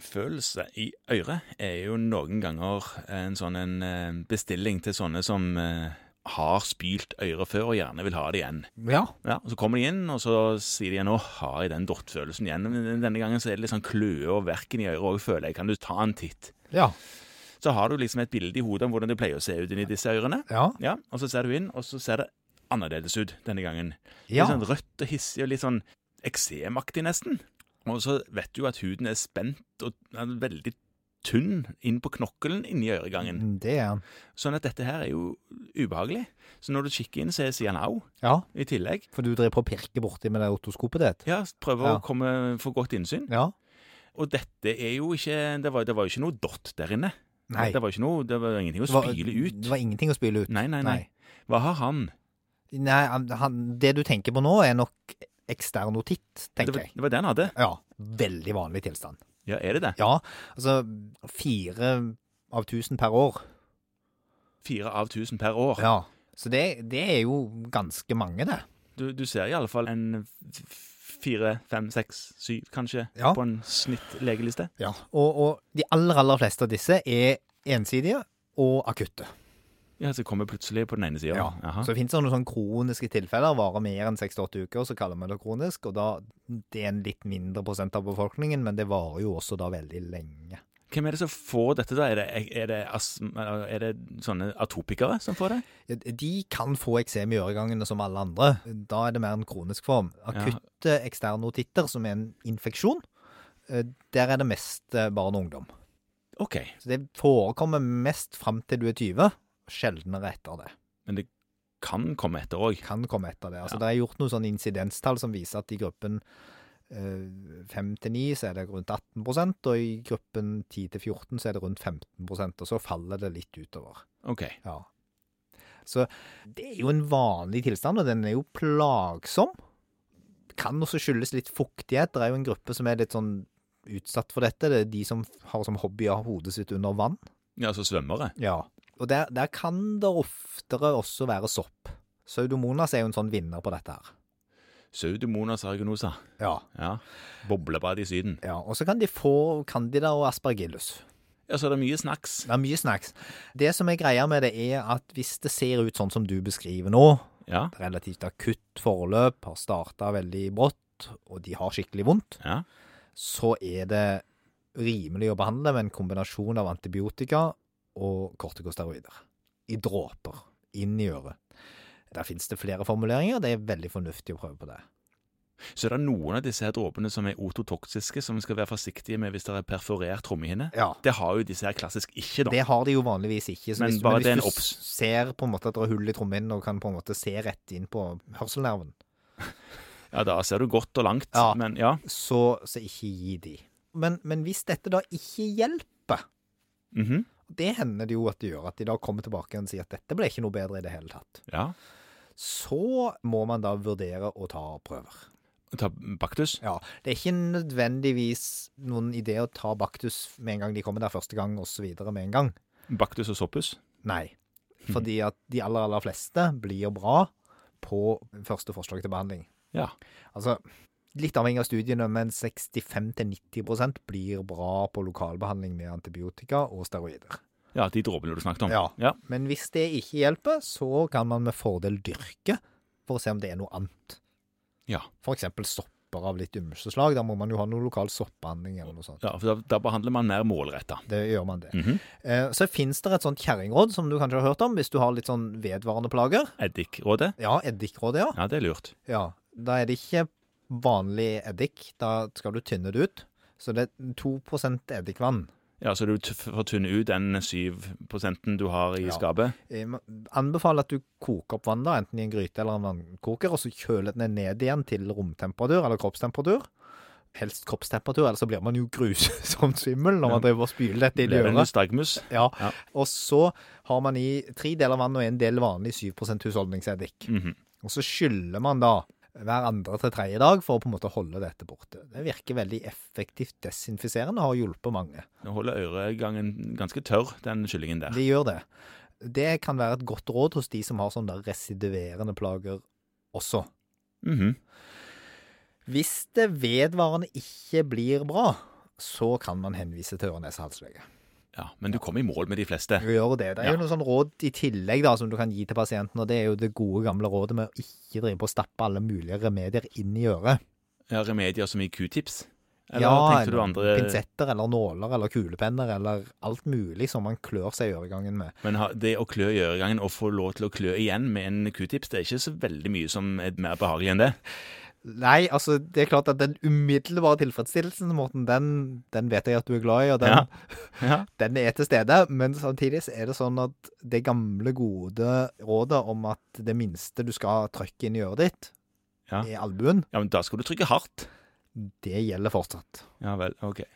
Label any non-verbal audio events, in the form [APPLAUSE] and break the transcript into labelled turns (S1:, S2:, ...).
S1: Følelse i øret er jo noen ganger en sånn en eh, bestilling til sånne som eh, har spylt øret før og gjerne vil ha det igjen.
S2: Ja.
S1: Ja, og Så kommer de inn, og så sier de igjen 'Nå har jeg den dottfølelsen igjen'. Men denne gangen så er det litt sånn kløe og verken i øret òg, føler jeg. Kan du ta en titt?
S2: Ja.
S1: Så har du liksom et bilde i hodet om hvordan det pleier å se ut inni disse ørene.
S2: Ja.
S1: Ja, Og så ser du inn, og så ser det annerledes ut denne gangen.
S2: ja.
S1: Litt sånn rødt og hissig og litt sånn eksemaktig nesten. Og så vet du jo at huden er spent og er veldig tynn inn på knokkelen inni øregangen.
S2: Det er han.
S1: Sånn at dette her er jo ubehagelig. Så når du kikker inn, så er- sier han au
S2: Ja.
S1: i tillegg.
S2: For du driver og pirker borti med det otoskopet ditt?
S1: Ja, prøver
S2: Ja.
S1: å komme, få godt innsyn.
S2: Ja.
S1: Og dette er jo ikke Det var, det var jo ikke noe dott der inne.
S2: Nei.
S1: Det var ikke noe, det var ingenting å
S2: Det var-
S1: spyle ut.
S2: Det var ingenting å spyle ut.
S1: Nei, nei, nei. Hva har han?
S2: Nei, han, han, Det du tenker på nå, er nok eksternotitt,
S1: Det
S2: tenker
S1: var,
S2: jeg.
S1: det var det han hadde.
S2: Ja. Veldig vanlig tilstand.
S1: Ja, er det det?
S2: Ja, altså fire av tusen per år.
S1: Fire av tusen per år.
S2: Ja. Så det, det er jo ganske mange, det.
S1: Du, du ser i alle fall en f- fire, fem, seks, syv kanskje
S2: Ja.
S1: på en snittlegeliste.
S2: Ja. Og, og de aller, aller fleste av disse er ensidige og akutte.
S1: Ja, så kommer plutselig på den ene sida.
S2: Ja, Så det finnes det noen sånne kroniske tilfeller, varer mer enn 6-8 uker, så kaller vi det kronisk, og da det er en litt mindre prosent av befolkningen, men det varer jo også da veldig lenge.
S1: Hvem er det som får dette, da? Er det, er det, astm- eller er det sånne atopikere som får det?
S2: Ja, De kan få eksem i øregangene som alle andre. Da er det mer en kronisk form. Akutte eksternotitter, som er en infeksjon, eh, der er det mest eh, barn og ungdom.
S1: OK,
S2: Så det forekommer mest fram til du er 20, sjeldnere etter det.
S1: men det kan komme etter òg.
S2: kan komme etter det. Altså,
S1: Ja.
S2: Det er gjort noen sånne insidenstall som viser at i gruppen eh, 5 til 9 så er det rundt 18 og i gruppen 10 til 14 så er det rundt 15 og så faller det litt utover.
S1: OK.
S2: Ja. Så det er jo en vanlig tilstand, og den er jo plagsom. Kan også skyldes litt fuktighet. Det er jo en gruppe som er litt sånn utsatt for dette. Det er de som har som hobby å ha hodet sitt under vann.
S1: Ja, så svømmere.
S2: Ja, og der, der kan det oftere også være sopp. Pseudomonas er jo en sånn vinner på dette her.
S1: Pseudomonas argonosa.
S2: Ja.
S1: Ja. Boblebad i Syden.
S2: ja. Og så kan de få candida og aspergillus.
S1: Ja, så er det mye snacks.
S2: Det er mye snacks. Det som er greia med det, er at hvis det ser ut sånn som du beskriver nå,
S1: Ja.
S2: relativt akutt forløp, har starta veldig brått, og de har skikkelig vondt,
S1: ja.
S2: så er det rimelig å behandle med en kombinasjon av antibiotika og kortikosteroider. I dråper. Inn i øret. Der finnes det flere formuleringer. Det er veldig fornuftig å prøve på det.
S1: Så er det noen av disse her dråpene som er ototoksiske, som vi skal være forsiktige med hvis det er perforert trommehinne.
S2: Ja.
S1: Det har jo disse her klassisk ikke, da.
S2: Det har de jo vanligvis ikke. Så
S1: Men
S2: hvis,
S1: bare
S2: men
S1: det er en
S2: hvis du
S1: obs.
S2: ser på en måte at det er hull i trommehinnen og kan på en måte se rett inn på hørselnerven,
S1: Ja, da ser du godt og langt,
S2: Ja.
S1: men ja.
S2: så, så ikke gi de. Men, men hvis dette da ikke hjelper, Mm-hmm.
S1: Mhm.
S2: det hender det jo at det gjør at de da kommer tilbake igjen og sier at dette ble ikke noe bedre i det hele tatt,
S1: ja.
S2: så må man da vurdere å ta prøver.
S1: Ta baktus.
S2: Ja, Det er ikke nødvendigvis noen idé å ta baktus med en gang de kommer der første gang, osv. med en gang.
S1: Baktus og soppus.
S2: Nei.
S1: Mhm.
S2: Fordi at de aller, aller fleste blir bra på første forslag til behandling.
S1: Ja.
S2: Altså, litt avhengig av studiene, men 65-90 blir bra på lokalbehandling med antibiotika og steroider.
S1: ja, de dråpene du snakket om.
S2: Ja.
S1: ja.
S2: Men hvis det ikke hjelper, så kan man med fordel dyrke for å se om det er noe annet.
S1: Ja.
S2: F.eks. sopper av litt ymse slag. Da må man jo ha noe lokal soppbehandling eller noe sånt.
S1: Ja, for da, da behandler man mer målretta.
S2: Det gjør man det.
S1: Mhm.
S2: Eh, Så fins det et sånt kjerringråd som du kanskje har hørt om, hvis du har litt sånn vedvarende plager.
S1: Eddikrådet.
S2: Ja, eddikrådet, ja.
S1: Ja, det er lurt.
S2: Ja, da er det ikke vanlig eddik. Da skal du tynne det ut. Så det er 2 eddikvann.
S1: Ja, Så du t- får tynne ut den syv prosenten du har i
S2: Ja.
S1: skapet.
S2: Jeg Eh, anbefaler at du koker opp vann, da, enten i en gryte eller en vannkoker, og så kjøler den ned igjen til romtemperatur eller kroppstemperatur. Helst kroppstemperatur, ellers så blir man jo grusomt [LAUGHS] svimmel når man driver og spyler dette inn i
S1: Levende
S2: øret.
S1: stagmus.
S2: Ja.
S1: Ja.
S2: Og så har man i tre deler vann og en del vanlig 7 husholdningseddik.
S1: Mhm.
S2: Og så skyller man da hver andre til tredje dag for å på en måte holde dette borte. Det virker veldig effektivt desinfiserende og har hjulpet mange.
S1: Det Holder øregangen ganske tørr, den kyllingen der.
S2: De gjør det. Det kan være et godt råd hos de som har sånne residuerende plager også.
S1: Mhm.
S2: Hvis det vedvarende ikke blir bra, så kan man henvise til øre-nese-halslege.
S1: Ja, Men du kom i mål med de fleste.
S2: Gjør det. Det
S1: Ja.
S2: er jo noen sånn råd i tillegg da, som du kan gi til pasienten, og det er jo det gode gamle rådet med å ikke drive på å stappe alle mulige remedier inn i øret.
S1: Ja, Remedier som i q-tips? Eller
S2: ja,
S1: tenkte du andre
S2: pinsetter eller nåler eller kulepenner eller alt mulig som man klør seg i øregangen med.
S1: Men ha- det å klø i øregangen og få lov til å klø igjen med en q-tips, det er ikke så veldig mye som er mer behagelig enn det.
S2: Nei, altså, det er klart at den umiddelbare tilfredsstillelsen, Morten, den, den vet jeg at du er glad i, og den,
S1: Ja. Ja.
S2: den er til stede, men samtidig så er det sånn at det gamle, gode rådet om at det minste du skal trykke inn i øret ditt,
S1: Ja.
S2: er albuen,
S1: ja, men da skal du trykke hardt.
S2: det gjelder fortsatt.
S1: Ja vel, ok.